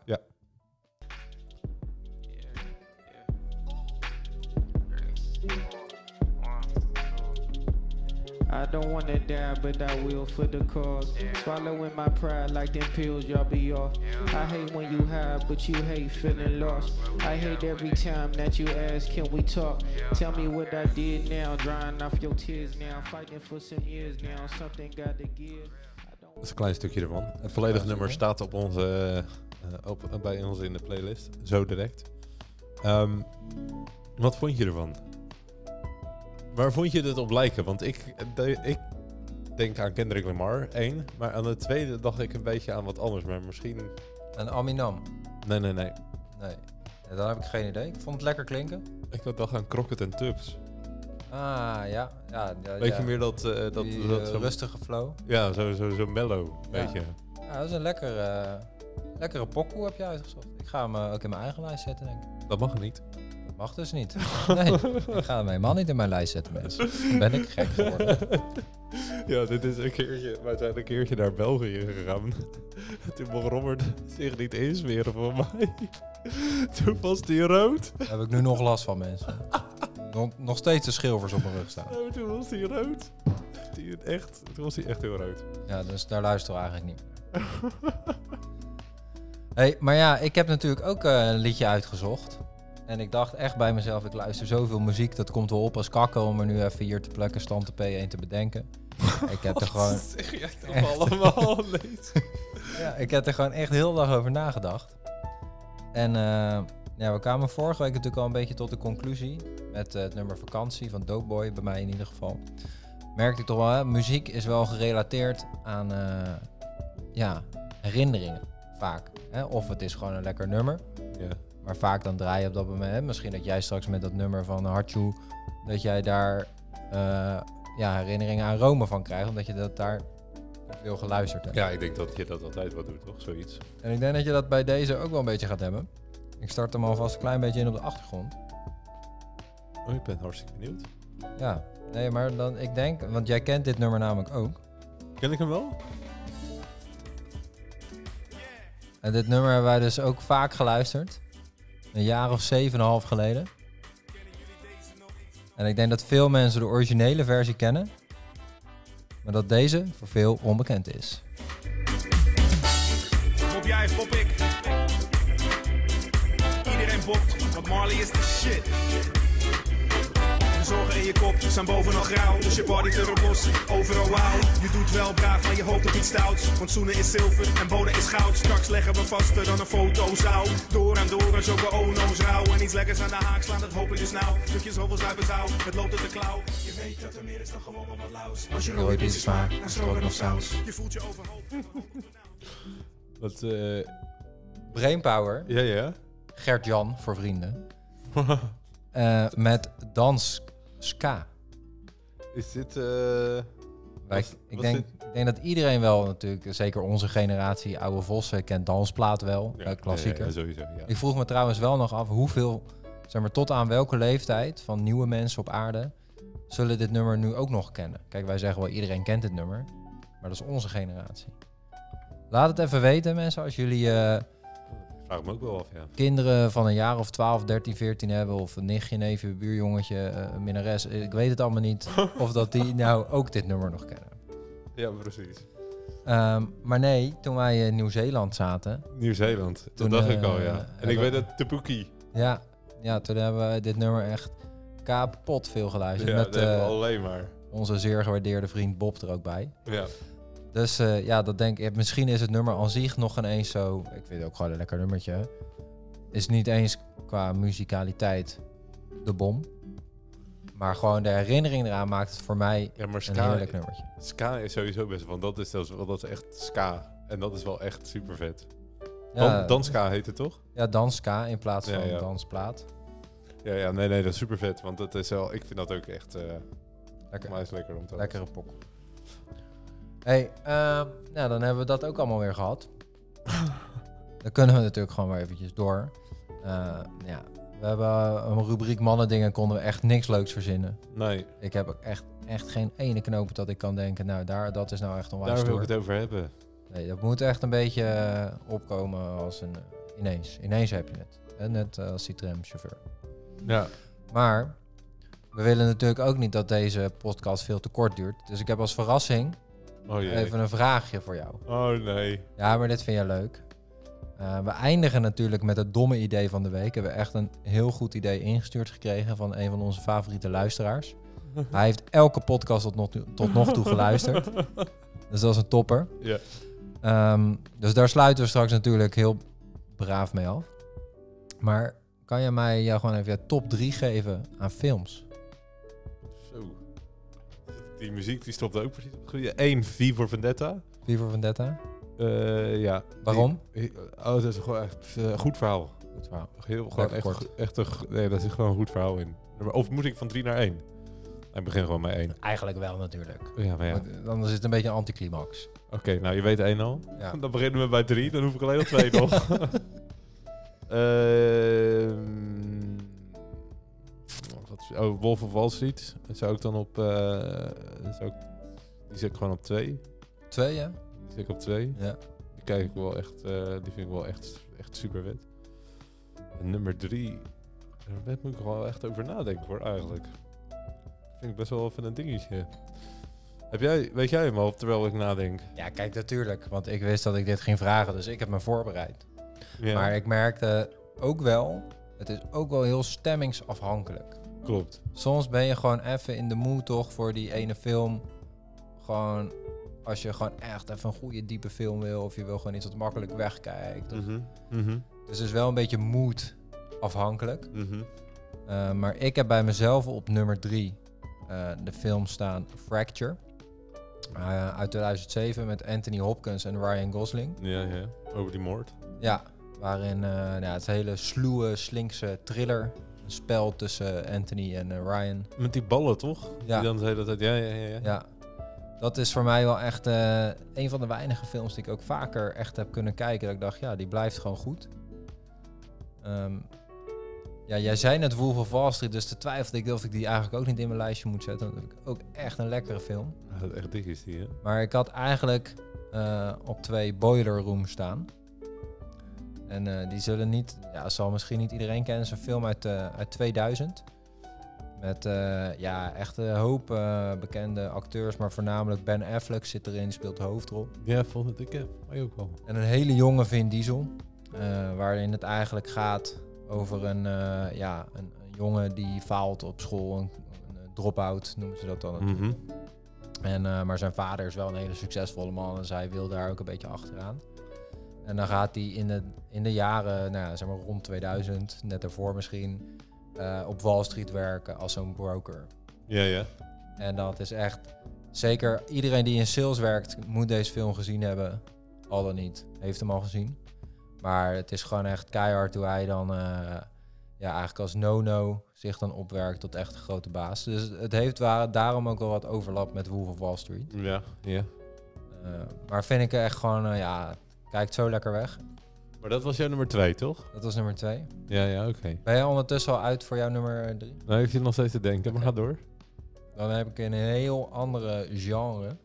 Speaker 4: I don't wanna die, but I will for the cause. Swallowing my pride like them pills, y'all be off. I hate when you high, but you hate feeling lost. I hate every time that you ask, can we talk? Tell me what I did now, drying off your tears now, fighting for some years now, something got to give. I don't
Speaker 1: Dat is een klein stukje ervan. Het volledig nummer staat op onze, eh, op, bij ons in de playlist. Zo direct. Ehm, wat vond je ervan? Waar vond je dit op lijken? Want ik, de- ik denk aan Kendrick Lamar, één. Maar aan de tweede dacht ik een beetje aan wat anders. Maar misschien...
Speaker 2: Een Aminam.
Speaker 1: Nee, nee, nee.
Speaker 2: Nee. Ja, dan heb ik geen idee. Ik vond het lekker klinken.
Speaker 1: Ik dacht aan Crockett en Tubbs.
Speaker 2: Ah, ja. ja, ja
Speaker 1: Weet je
Speaker 2: ja.
Speaker 1: meer dat... eh, dat,
Speaker 2: Die,
Speaker 1: dat
Speaker 2: eh,
Speaker 1: zo-
Speaker 2: rustige flow.
Speaker 1: ja, zo, zo, zo mellow,
Speaker 2: Ja.
Speaker 1: weet je.
Speaker 2: Ja, dat is een lekkere, lekkere pokoe heb je uitgezocht. Ik ga hem eh, ook in mijn eigen lijst zetten, denk ik.
Speaker 1: Dat mag niet.
Speaker 2: Dat mag dus niet. Nee, ik ga hem helemaal niet in mijn lijst zetten, mensen. Dan ben ik gek geworden.
Speaker 1: Ja, dit is een keertje. Wij zijn een keertje naar België gegaan. Toen mocht Robert zich niet insmeren voor mij. Toen was die rood.
Speaker 2: Daar heb ik nu nog last van, mensen. Nog, nog steeds de schilvers op mijn rug staan.
Speaker 1: Oh, toen was die rood. Die echt, toen was hij echt heel rood.
Speaker 2: Ja, dus daar luisteren we eigenlijk niet meer. Hey, maar ja, ik heb natuurlijk ook eh, een liedje uitgezocht. En ik dacht echt bij mezelf, ik luister zoveel muziek, dat komt wel op als kakken om er nu even hier te plukken, stand de P1 te bedenken. ik, heb er gewoon,
Speaker 1: Oh, zeg jij toch
Speaker 2: Echt.
Speaker 1: allemaal? Lees.
Speaker 2: ja, ik heb er gewoon echt heel lang over nagedacht. En eh, ja, we kwamen vorige week natuurlijk al een beetje tot de conclusie, met eh, het nummer Vakantie van Dopeboy, bij mij in ieder geval. Merkte ik toch wel, hè, muziek is wel gerelateerd aan eh, ja, herinneringen, vaak. Hè? Of het is gewoon een lekker nummer.
Speaker 1: Ja.
Speaker 2: Maar vaak dan draai je op dat moment. hè, Misschien dat jij straks met dat nummer van Hartjoe. dat jij daar eh, ja, herinneringen aan Rome van krijgt. omdat je dat daar veel geluisterd hebt.
Speaker 1: ja, ik denk dat je dat altijd wel doet, toch? Zoiets.
Speaker 2: En ik denk dat je dat bij deze ook wel een beetje gaat hebben. Ik start hem alvast een klein beetje in op de achtergrond.
Speaker 1: Oh, ik ben hartstikke benieuwd.
Speaker 2: Ja, nee, maar dan ik denk. want jij kent dit nummer namelijk ook.
Speaker 1: Ken ik hem wel?
Speaker 2: En dit nummer hebben wij dus ook vaak geluisterd. Een jaar of zeven en een half geleden. En ik denk dat veel mensen de originele versie kennen. Maar dat deze voor veel onbekend is.
Speaker 5: Pop jij, pop ik. Iedereen popt, want Marley is de shit. De zorgen in je kop zijn bovenal grauw, dus je body terror los, overal wauw. Je doet wel braaf, maar je hoopt op iets stouts. Want zoenen is zilver en bonen is goud. Straks leggen we vaster dan een fotozaal. Door en door en zo ono's rauw. En iets lekkers aan de haak slaan, dat hoop ik dus nou. Stukjes zoveel zuipen zou, het loopt uit de klauw. Je weet dat er meer is dan gewoon maar wat laus. Als je rooit is het smaak, dan stroken of saus. Je voelt je overhoop.
Speaker 1: Dat, eh
Speaker 2: Brainpower,
Speaker 1: ja, ja.
Speaker 2: Gert-Jan voor vrienden. Eh, met Dans Ska.
Speaker 1: Is dit... eh
Speaker 2: Wij-
Speaker 1: Wat-
Speaker 2: ik,
Speaker 1: wat
Speaker 2: denk, ik denk dat iedereen wel natuurlijk, zeker onze generatie, oude vossen, kent Dansplaat wel, eh, klassieker.
Speaker 1: Ja, ja, sowieso, ja.
Speaker 2: Ik vroeg me trouwens wel nog af hoeveel, zeg maar, tot aan welke leeftijd van nieuwe mensen op aarde zullen dit nummer nu ook nog kennen. Kijk, wij zeggen wel iedereen kent dit nummer, maar dat is onze generatie. Laat het even weten mensen, als jullie eh,
Speaker 1: Ik vraag me ook wel af, ja.
Speaker 2: kinderen van een jaar of 12, 13, 14 hebben, of een nichtje, neefje, buurjongetje, eh, een minnares, ik weet het allemaal niet, of dat die nou ook dit nummer nog kennen.
Speaker 1: Ja, precies.
Speaker 2: Ehm, maar nee, toen wij in Nieuw-Zeeland zaten,
Speaker 1: Nieuw-Zeeland. Dat
Speaker 2: Toen,
Speaker 1: dacht
Speaker 2: eh,
Speaker 1: ik al, ja. En ik
Speaker 2: hebben-
Speaker 1: weet dat Tabuki.
Speaker 2: ja, ja, toen hebben we dit nummer echt kapot veel
Speaker 1: Ja,
Speaker 2: geluisterd.
Speaker 1: dat
Speaker 2: met
Speaker 1: hebben we
Speaker 2: eh,
Speaker 1: alleen maar.
Speaker 2: onze zeer gewaardeerde vriend Bob er ook bij.
Speaker 1: Ja.
Speaker 2: Dus eh, ja, dat denk ik. Misschien is het nummer aan zich nog ineens zo. Ik vind het ook gewoon een lekker nummertje. Is niet eens qua muzikaliteit de bom. Maar gewoon de herinnering eraan maakt het voor mij
Speaker 1: ja, maar
Speaker 2: een
Speaker 1: Ska,
Speaker 2: heerlijk nummertje.
Speaker 1: ska is sowieso best, want dat is, zelfs wel- dat is echt Ska. En dat is wel echt super vet.
Speaker 2: Ja,
Speaker 1: Dan, Danska heet het toch?
Speaker 2: ja danska in plaats
Speaker 1: Ja,
Speaker 2: van
Speaker 1: ja.
Speaker 2: dansplaat.
Speaker 1: Ja, ja, nee, nee, dat is super vet. Want dat is wel, ik vind dat ook echt, eh
Speaker 2: Lekker,
Speaker 1: maar is lekker om te
Speaker 2: Lekkere pokkel. hey, ehm, nou dan hebben we dat ook allemaal weer gehad. dan kunnen we natuurlijk gewoon weer eventjes door. Eh, ja, we hebben eh, een rubriek mannendingen, konden we echt niks leuks verzinnen.
Speaker 1: Nee,
Speaker 2: Ik heb ook echt, echt geen ene knoop dat ik kan denken, nou daar, dat is nou echt onwijs
Speaker 1: daar wil ik
Speaker 2: stoer.
Speaker 1: het over hebben.
Speaker 2: Nee, dat moet echt een beetje eh, opkomen als een... eh, Ineens, ineens heb je het. Hè, Net eh, als die tramchauffeur.
Speaker 1: Ja.
Speaker 2: Maar we willen natuurlijk ook niet dat deze podcast veel te kort duurt. Dus ik heb als verrassing
Speaker 1: Oh jee.
Speaker 2: Even een vraagje voor jou.
Speaker 1: Oh nee.
Speaker 2: Ja, maar dit vind jij leuk. Eh, we eindigen natuurlijk met het domme idee van de week. Hebben we echt een heel goed idee ingestuurd gekregen van een van onze favoriete luisteraars. Hij heeft elke podcast tot nog, toe- tot nog toe geluisterd. Dus dat is een topper.
Speaker 1: Ja.
Speaker 2: Ehm, dus daar sluiten we straks natuurlijk heel braaf mee af. Maar kan jij mij jou gewoon even je top 3 geven aan films?
Speaker 1: Zo. Die muziek die stopte ook precies op het goede. Eén, V voor Vendetta.
Speaker 2: Wie voor Vendetta?
Speaker 1: Eh, ja.
Speaker 2: Waarom?
Speaker 1: Die- oh, dat is gewoon echt eh, goed verhaal.
Speaker 2: Goed verhaal.
Speaker 1: Heel, gewoon
Speaker 2: Lekker
Speaker 1: echt,
Speaker 2: kort.
Speaker 1: go- echt een, go- nee, daar zit gewoon een goed verhaal in. Of moet ik van drie naar één? Hij begint gewoon met één.
Speaker 2: Eigenlijk wel natuurlijk.
Speaker 1: Ja, maar ja. Oké,
Speaker 2: Want Anders is het een beetje een anticlimax.
Speaker 1: nou je weet één al.
Speaker 2: Ja.
Speaker 1: Dan beginnen we bij drie, dan hoef ik alleen nog twee nog. Ehm, wat- oh, Wolf of Wall Street. Dat zou ik dan op... eh, zou ik, die zet ik gewoon op twee.
Speaker 2: Twee, ja?
Speaker 1: Die zet ik op twee.
Speaker 2: Ja.
Speaker 1: Die, kijk ik wel echt, eh, die vind ik wel echt, echt super wit. En nummer drie. Daar ben- moet ik wel echt over nadenken hoor, eigenlijk. Vind ik best wel even een dingetje. Heb jij, weet jij hem al, terwijl ik nadenk?
Speaker 2: Ja, kijk, natuurlijk. Want ik wist dat ik dit ging vragen, dus ik heb me voorbereid.
Speaker 1: Ja,
Speaker 2: Maar ik merkte ook wel, het is ook wel heel stemmingsafhankelijk.
Speaker 1: klopt.
Speaker 2: Soms ben je gewoon even in de mood toch voor die ene film. Gewoon, als je gewoon echt even een goede diepe film wil... of je wil gewoon iets wat makkelijk wegkijkt. of-
Speaker 1: Mhm, mhm,
Speaker 2: Dus het is wel een beetje mood afhankelijk.
Speaker 1: mhm.
Speaker 2: Eh, maar ik heb bij mezelf op nummer drie eh, de film staan Fracture. Eh, uit 2007 met Anthony Hopkins en Ryan Gosling.
Speaker 1: Ja, ja. Over die moord.
Speaker 2: Ja, waarin eh nou, ja, het hele sluwe, slinkse thriller. Een spel tussen Anthony en eh, Ryan.
Speaker 1: Met die ballen, toch?
Speaker 2: Ja.
Speaker 1: Die dan de hele tijd... Ja, ja, ja. ja.
Speaker 2: Ja, dat is voor mij wel echt eh, een van de weinige films die ik ook vaker echt heb kunnen kijken. Dat ik dacht, ja, die blijft gewoon goed. Ehm, ja, jij zei net Wolf of Wall Street, dus te twijfelde ik of ik die eigenlijk ook niet in mijn lijstje moet zetten. Dat vind ik ook echt een lekkere film.
Speaker 1: Ja, Ah, dat echt dik is die, hè?
Speaker 2: Maar ik had eigenlijk eh, op twee Boiler Room staan. En eh, die zullen niet, ja, zal misschien niet iedereen kennen. Het is een film uit, eh, uit 2000. Met eh, ja, echt een hoop eh, bekende acteurs, maar voornamelijk Ben Affleck zit erin, die speelt de hoofdrol.
Speaker 1: Ja, vond het ik heb. Mij ook wel.
Speaker 2: En een hele jonge Vin Diesel, eh, waarin het eigenlijk gaat over een, eh, ja, een, een jongen die faalt op school, een, een eh, drop-out noemen ze dat dan. natuurlijk.
Speaker 1: Mhm.
Speaker 2: En, eh, maar zijn vader is wel een hele succesvolle man, dus hij wil daar ook een beetje achteraan. En dan gaat hij in de, in de jaren, nou ja, zeg maar rond 2000, net daarvoor misschien, eh, op Wall Street werken als zo'n broker.
Speaker 1: Ja, ja.
Speaker 2: En dat is echt, zeker iedereen die in sales werkt, moet deze film gezien hebben. Al dan niet, heeft hem al gezien. Maar het is gewoon echt keihard hoe hij dan, eh, ja, eigenlijk als no-no zich dan opwerkt tot echt een grote baas. Dus het heeft wa- daarom ook wel wat overlap met Wolf of Wall Street.
Speaker 1: Ja, ja.
Speaker 2: Eh, maar vind ik echt gewoon, eh, ja, kijkt zo lekker weg.
Speaker 1: Maar dat was jouw nummer twee, toch?
Speaker 2: Dat was nummer twee.
Speaker 1: Ja, ja, oké.
Speaker 2: Ben jij ondertussen al uit voor jouw nummer eh, drie?
Speaker 1: Nou, ik zit nog steeds te denken, maar ga door.
Speaker 2: Dan heb ik een heel andere genre.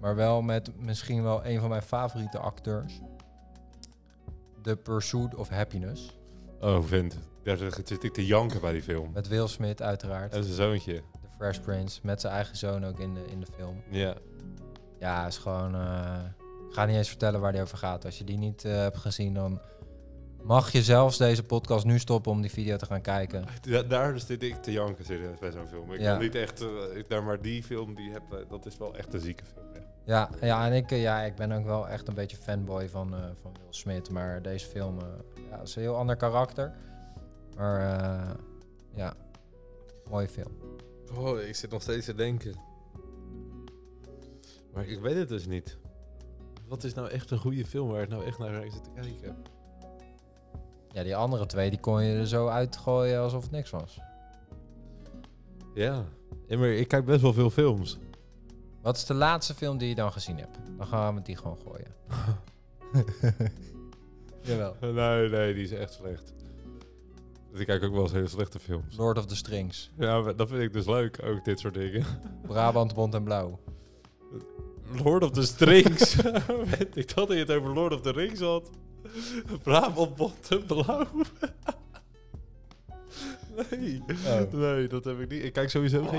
Speaker 2: Maar wel met misschien wel een van mijn favoriete acteurs. The Pursuit of Happiness.
Speaker 1: Oh, Vint. Daar zit zit ik te janken bij die film.
Speaker 2: Met Will Smith uiteraard.
Speaker 1: En zijn zoontje.
Speaker 2: The Fresh Prince. Met zijn eigen zoon ook in de, in de film.
Speaker 1: Ja.
Speaker 2: Ja, is gewoon... eh, ik ga niet eens vertellen waar die over gaat. Als je die niet eh, hebt gezien, dan mag je zelfs deze podcast nu stoppen om die video te gaan kijken.
Speaker 1: Da- daar zit ik te janken serieus bij zo'n film. Ik
Speaker 2: Ja.
Speaker 1: wil niet echt... eh, ik, nou, maar die film, die heb, eh, dat is wel echt een zieke film. ja.
Speaker 2: Ja, ja en ik, eh, ja, ik ben ook wel echt een beetje fanboy van, eh, van Will Smith. Maar deze film eh, ja, is een heel ander karakter. Maar eh, ja, mooie film.
Speaker 1: Oh, ik zit nog steeds te denken. Maar ik weet het dus niet. Wat is nou echt een goede film waar ik nou echt naar zit te kijken?
Speaker 2: Ja, die andere twee die kon je er zo uitgooien alsof het niks was.
Speaker 1: Ja. ja maar ik kijk best wel veel films.
Speaker 2: Wat is de laatste film die je dan gezien hebt? Dan gaan we die gewoon gooien. Jawel.
Speaker 1: Nee, nee, die is echt slecht. Dus ik kijk ook wel eens hele slechte films.
Speaker 2: Lord of the Strings.
Speaker 1: Ja, maar dat vind ik dus leuk, ook dit soort dingen.
Speaker 2: Brabant, Bond en Blauw.
Speaker 1: Lord of the Strings. Weet ik dacht dat je het over Lord of the Rings had. Brabant bont en blauw. nee.
Speaker 2: Oh.
Speaker 1: nee, dat heb ik niet. Ik kijk sowieso geen,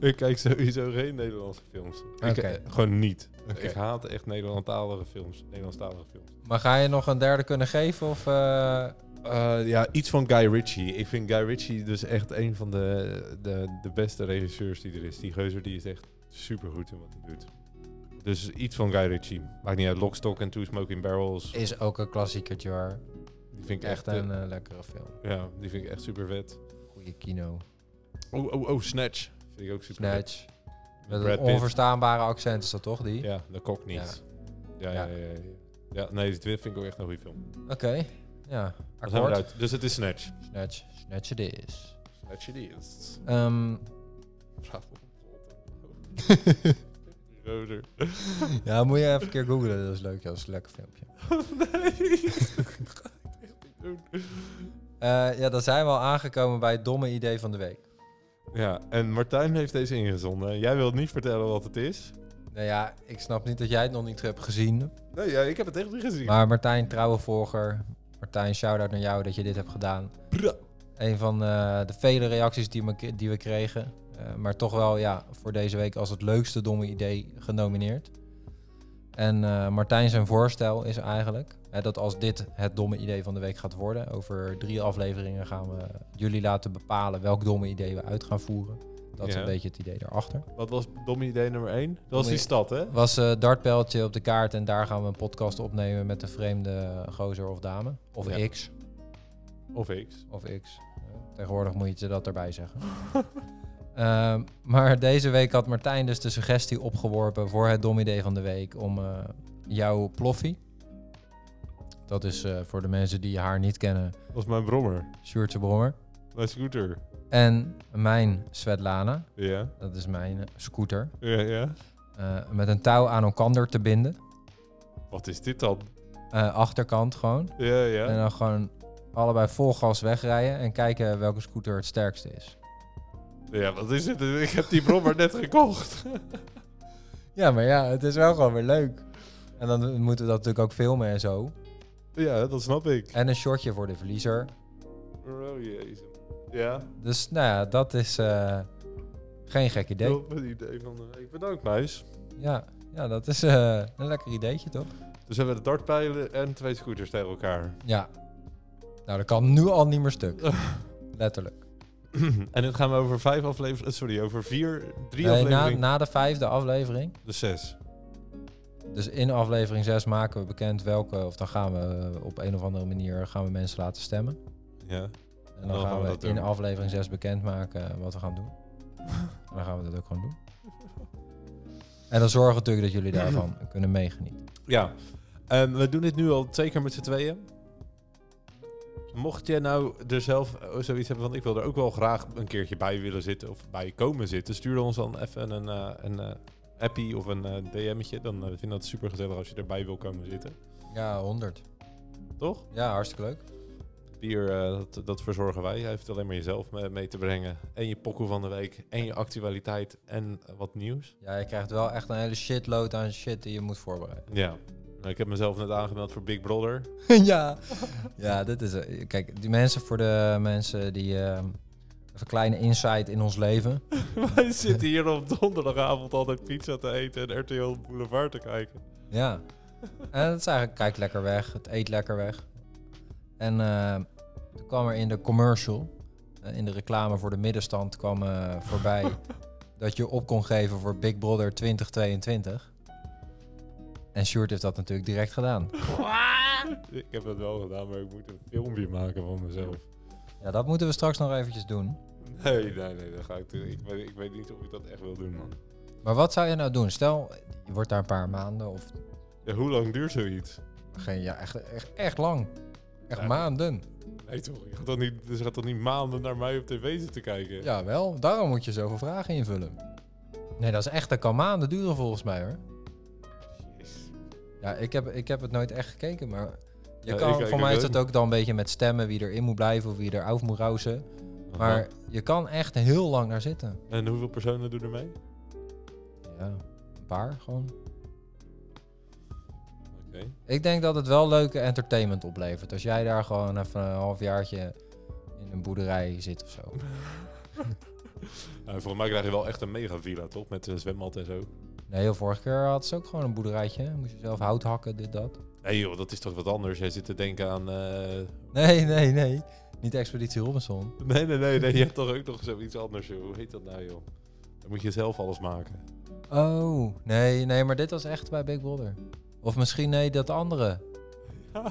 Speaker 1: Ne- ik kijk sowieso geen Nederlandse films. Ik,
Speaker 2: Oké.
Speaker 1: eh, gewoon niet.
Speaker 2: Oké.
Speaker 1: Ik haat echt Nederlandstalige films. Nederlandstalige films.
Speaker 2: Maar ga je nog een derde kunnen geven? Of, eh,
Speaker 1: Eh, ja, iets van Guy Ritchie. Ik vind Guy Ritchie dus echt een van de, de, de beste regisseurs die er is. Die geuzer die is echt supergoed in wat hij doet. Dus iets van Guy Ritchie. Maakt niet uit, Lockstock en Two Smoking Barrels.
Speaker 2: is ook een klassiekertje hoor.
Speaker 1: Die vind ik
Speaker 2: Echt
Speaker 1: echt,
Speaker 2: een
Speaker 1: eh,
Speaker 2: eh, lekkere film.
Speaker 1: ja, die vind ik echt super vet.
Speaker 2: Goeie kino.
Speaker 1: Oh, oh, oh, Snatch. Vind ik ook super vet.
Speaker 2: Snatch. Met
Speaker 1: Brad
Speaker 2: een
Speaker 1: Pitt.
Speaker 2: onverstaanbare accent is dat toch, die?
Speaker 1: Ja, de kok niet. Ja, ja,
Speaker 2: Ja.
Speaker 1: ja. ja, ja. Ja, nee, dit vind ik ook echt een goede film.
Speaker 2: Oké. Ja,
Speaker 1: Dan zijn we
Speaker 2: akkoord.
Speaker 1: eruit. Dus het is Snatch.
Speaker 2: Snatch. Snatch it is.
Speaker 1: Snatch it is.
Speaker 2: Ehm,
Speaker 1: Bravo. Die Roder.
Speaker 2: ja, moet je even een keer googlen. Dat is leuk, ja. Dat is een lekker filmpje. Eh, ja, dan zijn we al aangekomen bij het domme idee van de week.
Speaker 1: Ja, en Martijn heeft deze ingezonden. Jij wilt niet vertellen wat het is?
Speaker 2: Nou ja, ik snap niet dat jij het nog niet hebt gezien.
Speaker 1: Nee, ja, ik heb het echt niet gezien.
Speaker 2: Maar Martijn, trouwe volger, Martijn, shout-out naar jou dat je dit hebt gedaan. Een van eh, de vele reacties die, me, die we kregen. Eh, maar toch wel ja, voor deze week als het leukste domme idee genomineerd. En eh, Martijn zijn voorstel is eigenlijk hè, dat als dit het domme idee van de week gaat worden, over drie afleveringen gaan we jullie laten bepalen welk domme idee we uit gaan voeren. Dat is
Speaker 1: Ja.
Speaker 2: een beetje het idee daarachter.
Speaker 1: Wat was domme idee nummer 1? Dat was die
Speaker 2: Domme-
Speaker 1: stad, hè?
Speaker 2: Was eh dartpijltje op de kaart en daar gaan we een podcast opnemen met een vreemde gozer of dame. Of
Speaker 1: Ja.
Speaker 2: X.
Speaker 1: Of X.
Speaker 2: Of X. Tegenwoordig moet je dat erbij zeggen. Ehm, maar deze week had Martijn dus de suggestie opgeworpen voor het dom idee van de week om eh, jouw ploffie. Dat is eh, voor de mensen die haar niet kennen,
Speaker 1: Dat was mijn brommer.
Speaker 2: Sjoerdse Brommer.
Speaker 1: Mijn scooter.
Speaker 2: En mijn Svetlana,
Speaker 1: Ja.
Speaker 2: dat is mijn eh, scooter,
Speaker 1: Ja, ja.
Speaker 2: eh, met een touw aan elkander te binden.
Speaker 1: Wat is dit dan?
Speaker 2: Eh, achterkant gewoon.
Speaker 1: Ja,
Speaker 2: En
Speaker 1: ja.
Speaker 2: dan gewoon allebei vol gas wegrijden en kijken welke scooter het sterkste is.
Speaker 1: Ja, wat is dit? Ik heb die brommer net gekocht.
Speaker 2: Ja, maar ja, het is wel gewoon weer leuk. En dan moeten we dat natuurlijk ook filmen en zo.
Speaker 1: Ja, dat snap ik.
Speaker 2: En een shortje voor de verliezer.
Speaker 1: Oh jezus. Ja,
Speaker 2: Dus nou ja, dat is eh, geen gek idee.
Speaker 1: dat was het idee van de week. Bedankt, muis.
Speaker 2: Ja, ja dat is eh, een lekker ideetje, toch?
Speaker 1: Dus hebben we de dartpijlen en twee scooters tegen elkaar.
Speaker 2: Ja. Nou, dat kan nu al niet meer stuk. Letterlijk.
Speaker 1: en dit gaan we over vijf afleveringen... Sorry, over vier, drie
Speaker 2: Nee, na,
Speaker 1: afleveringen...
Speaker 2: na de vijfde aflevering.
Speaker 1: De zes.
Speaker 2: Dus in aflevering 6 maken we bekend welke. Of dan gaan we eh, op een of andere manier gaan we mensen laten stemmen.
Speaker 1: Ja.
Speaker 2: En dan, gaan we,
Speaker 1: dat
Speaker 2: in
Speaker 1: doen.
Speaker 2: aflevering 6 bekendmaken eh, wat we gaan doen. en dan gaan we dat ook gewoon doen. En dan zorgen we natuurlijk dat jullie daarvan kunnen meegenieten.
Speaker 1: Ja, Ehm, we doen dit nu al twee keer met z'n tweeën. Mocht jij nou er zelf eh, zoiets hebben van ik wil er ook wel graag een keertje bij willen zitten of bij komen zitten, stuur ons dan even een, eh, een eh, appie of een eh, DM'tje. Dan eh, vinden we het super gezellig als je erbij wil komen zitten.
Speaker 2: Ja, 100.
Speaker 1: Toch?
Speaker 2: Ja, hartstikke leuk.
Speaker 1: Bier, eh, dat, dat verzorgen wij. Hij heeft alleen maar jezelf mee, mee te brengen. En je pokoe van de week. En je actualiteit. En eh, wat nieuws.
Speaker 2: Ja, je krijgt wel echt een hele shitload aan shit die je moet voorbereiden.
Speaker 1: Ja. Nou, Ik heb mezelf net aangemeld voor Big Brother.
Speaker 2: ja. ja, dit is... eh, Kijk, die mensen voor de mensen die... ehm, even kleine insight in ons leven.
Speaker 1: Wij zitten hier op donderdagavond altijd pizza te eten en RTL Boulevard te kijken.
Speaker 2: Ja. En het is eigenlijk, kijk lekker weg, het eet lekker weg. En eh, toen kwam er in de commercial, eh, in de reclame voor de middenstand, kwam eh, voorbij dat je op kon geven voor Big Brother 2022. En Sjoerd heeft dat natuurlijk direct gedaan.
Speaker 1: Ik heb dat wel gedaan, maar ik moet een filmpje maken van mezelf.
Speaker 2: Ja, dat moeten we straks nog eventjes doen.
Speaker 1: Nee, nee, nee, dat ga ik doen. Ik weet, ik weet niet of ik dat echt wil doen, man.
Speaker 2: Maar wat zou je nou doen? Stel, je wordt daar een paar maanden of
Speaker 1: Ja, hoe lang duurt zoiets?
Speaker 2: geen ja, echt, echt, echt lang. Echt
Speaker 1: Ja.
Speaker 2: maanden.
Speaker 1: Nee toch, je gaat toch niet, dus je gaat toch niet maanden naar mij op tv zitten kijken?
Speaker 2: Ja, wel. Daarom moet je zoveel vragen invullen. Nee, dat is echt, dat kan maanden duren volgens mij hoor. Ja, ik heb, ik heb het nooit echt gekeken, maar je
Speaker 1: Ja, ik-
Speaker 2: kan,
Speaker 1: ik
Speaker 2: voor
Speaker 1: ook
Speaker 2: mij is
Speaker 1: niet.
Speaker 2: het ook dan een beetje met stemmen wie erin moet blijven of wie er af moet rousen.
Speaker 1: Aha.
Speaker 2: Maar je kan echt heel lang naar zitten.
Speaker 1: En hoeveel personen doen er mee?
Speaker 2: Ja, een paar gewoon.
Speaker 1: Oké.
Speaker 2: Ik denk dat het wel leuke entertainment oplevert. Als jij daar gewoon even een halfjaartje in een boerderij zit of zo.
Speaker 1: Nou, volgens mij krijg je wel echt een mega villa, toch? Met een zwembad en zo.
Speaker 2: Nee, heel vorige keer had ze ook gewoon een boerderijtje. Moest je zelf hout hakken, dit, dat.
Speaker 1: Nee joh, dat is toch wat anders? Jij zit te denken aan... eh,
Speaker 2: Nee, nee, nee. Niet Expeditie Robinson.
Speaker 1: Nee, nee, nee, nee. Je hebt toch ook nog zoiets anders, joh. Hoe heet dat nou, joh? Dan moet je zelf alles maken.
Speaker 2: Oh, nee, nee, maar dit was echt bij Big Brother. Of misschien nee, dat andere.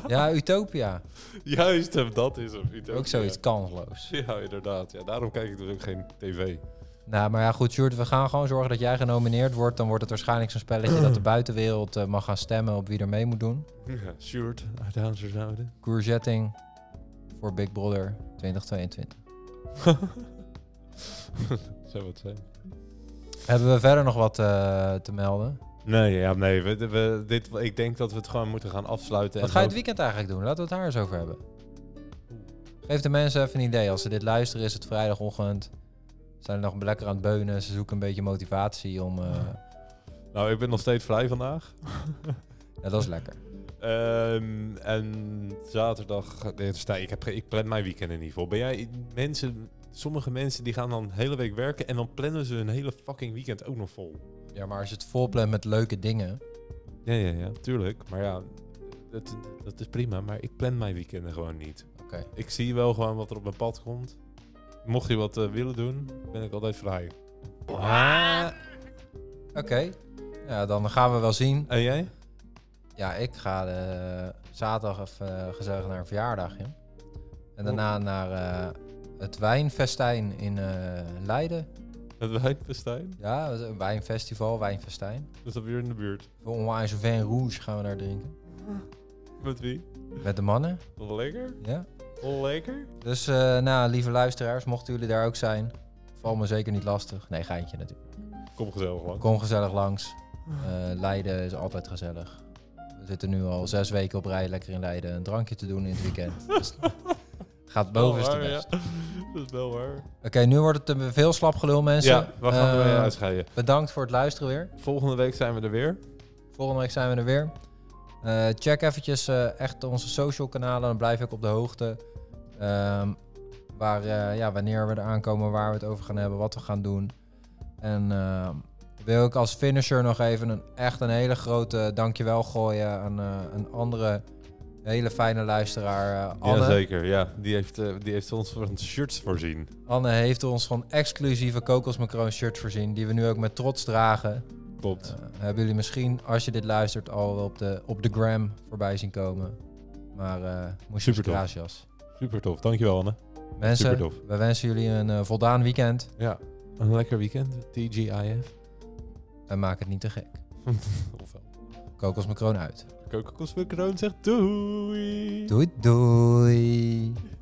Speaker 2: Ja, Utopia.
Speaker 1: Juist, hem, dat is hem. Utopia.
Speaker 2: Ook zoiets kansloos.
Speaker 1: Ja, inderdaad. Ja, daarom kijk ik dus ook geen tv.
Speaker 2: Nou, maar ja, goed, Sjoerd, we gaan gewoon zorgen dat jij genomineerd wordt. Dan wordt het waarschijnlijk zo'n spelletje dat de buitenwereld eh, mag gaan stemmen op wie er mee moet doen.
Speaker 1: Ja, Sjoerd uit Aanzerzouden.
Speaker 2: Coursetting voor Big Brother 2022.
Speaker 1: Zou het zijn?
Speaker 2: Hebben we verder nog wat eh, te melden?
Speaker 1: Nee, ja, nee. We, we- dit, ik denk dat we het gewoon moeten gaan afsluiten.
Speaker 2: Wat
Speaker 1: en
Speaker 2: ga je
Speaker 1: hoop-
Speaker 2: het weekend eigenlijk doen? Laten we het daar eens over hebben. Geef de mensen even een idee. Als ze dit luisteren, is het vrijdagochtend. Zijn er nog lekker aan het beunen. Ze zoeken een beetje motivatie om... eh,
Speaker 1: Nou, ik ben nog steeds vrij vandaag.
Speaker 2: ja, dat is lekker.
Speaker 1: Ehm, en zaterdag, nee, sta- ik, heb, ge- ik plan mijn weekenden niet vol. Ben jij mensen, sommige mensen die gaan dan de hele week werken en dan plannen ze hun hele fucking weekend ook nog vol.
Speaker 2: Ja, maar als je het volplant met leuke dingen.
Speaker 1: Ja, ja, ja, tuurlijk. Maar ja, dat, dat is prima, maar ik plan mijn weekenden gewoon niet.
Speaker 2: Oké.
Speaker 1: Ik zie wel gewoon wat er op mijn pad komt. Mocht je wat eh, willen doen, ben ik altijd vrij.
Speaker 2: Oké. Ja, dan gaan we wel zien.
Speaker 1: En jij?
Speaker 2: Ja, ik ga eh, zaterdag even eh, gezellig naar een verjaardagje. En daarna naar eh, het wijnfestijn in eh, Leiden.
Speaker 1: Het wijnfestijn?
Speaker 2: Ja, dat is een wijnfestival, wijnfestijn.
Speaker 1: Dat is alweer in de buurt.
Speaker 2: Voor onwijs Vin Rouge gaan we daar drinken.
Speaker 1: Met wie?
Speaker 2: Met de mannen,
Speaker 1: Lekker?
Speaker 2: ja.
Speaker 1: Lekker?
Speaker 2: Dus eh, nou, lieve luisteraars, mochten jullie daar ook zijn, val me zeker niet lastig. Nee, geintje natuurlijk.
Speaker 1: Kom gezellig man.
Speaker 2: Kom gezellig langs. Eh, Leiden is altijd gezellig. We zitten nu al zes weken op rij lekker in Leiden een drankje te doen in het weekend. Dus gaat bovenste
Speaker 1: Wel waar,
Speaker 2: best.
Speaker 1: Oh, ja. Dat is wel waar.
Speaker 2: Oké, nu wordt het te veel slap gelul, mensen.
Speaker 1: Ja, we gaan
Speaker 2: Eh,
Speaker 1: ermee uitscheiden.
Speaker 2: Bedankt voor het luisteren weer.
Speaker 1: Volgende week zijn we er weer.
Speaker 2: Volgende week zijn we er weer. Eh, check eventjes eh, echt onze social kanalen. Dan blijf ik op de hoogte. Ehm, waar, eh, ja, wanneer we eraan komen, waar we het over gaan hebben, wat we gaan doen. En ehm, wil ik als finisher nog even een, echt een hele grote dankjewel gooien aan eh, een andere hele fijne luisteraar, eh, Anne.
Speaker 1: Jazeker, ja. Die heeft, eh, die heeft ons van shirts voorzien.
Speaker 2: Anne heeft ons van exclusieve kokosmacroon shirts voorzien, die we nu ook met trots dragen.
Speaker 1: Klopt.
Speaker 2: Eh, hebben jullie misschien, als je dit luistert, al wel op de, op de gram voorbij zien komen. Maar eh moest je
Speaker 1: Super tof.
Speaker 2: gracias.
Speaker 1: Super tof. Dankjewel Anne.
Speaker 2: Mensen,
Speaker 1: Supertof.
Speaker 2: we wensen jullie een eh, voldaan weekend.
Speaker 1: Ja. Een lekker weekend. TGIF.
Speaker 2: En maak het niet te gek.
Speaker 1: Ofwel.
Speaker 2: Kokos Macroon uit.
Speaker 1: Keukenkostbekroon zegt doei.
Speaker 2: Doei doei.